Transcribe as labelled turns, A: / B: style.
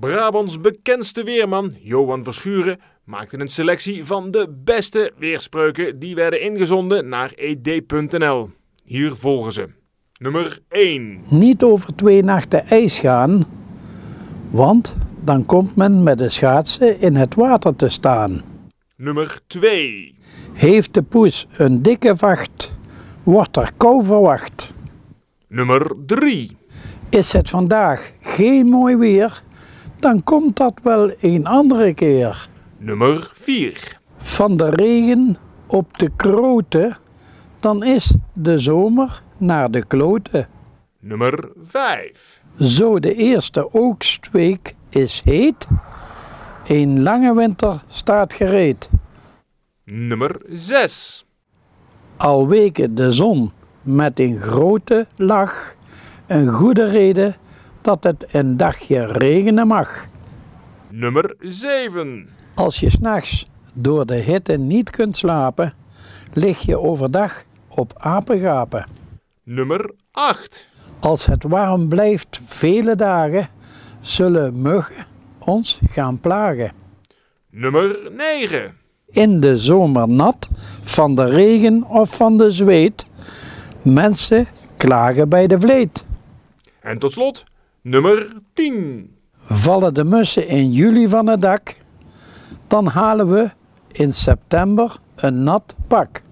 A: Brabants bekendste weerman, Johan Verschuren, maakte een selectie van de beste weerspreuken die werden ingezonden naar ed.nl. Hier volgen ze. Nummer 1.
B: Niet over twee nachten ijs gaan, want dan komt men met de schaatsen in het water te staan.
A: Nummer 2.
B: Heeft de poes een dikke vacht, wordt er kou verwacht.
A: Nummer 3.
B: Is het vandaag geen mooi weer, dan komt dat wel een andere keer.
A: Nummer 4.
B: Van de regen op de kroten, dan is de zomer naar de kloten.
A: Nummer 5.
B: Zo de eerste oogstweek is heet, een lange winter staat gereed.
A: Nummer 6.
B: Al weken de zon met een grote lach, een goede reden dat het een dagje regenen mag.
A: Nummer 7.
B: Als je s'nachts door de hitte niet kunt slapen, lig je overdag op apengapen.
A: Nummer 8.
B: Als het warm blijft vele dagen, zullen muggen ons gaan plagen.
A: Nummer 9.
B: In de zomer nat, van de regen of van de zweet, mensen klagen bij de vleet.
A: En tot slot, nummer 10.
B: Vallen de mussen in juli van het dak, dan halen we in september een nat pak.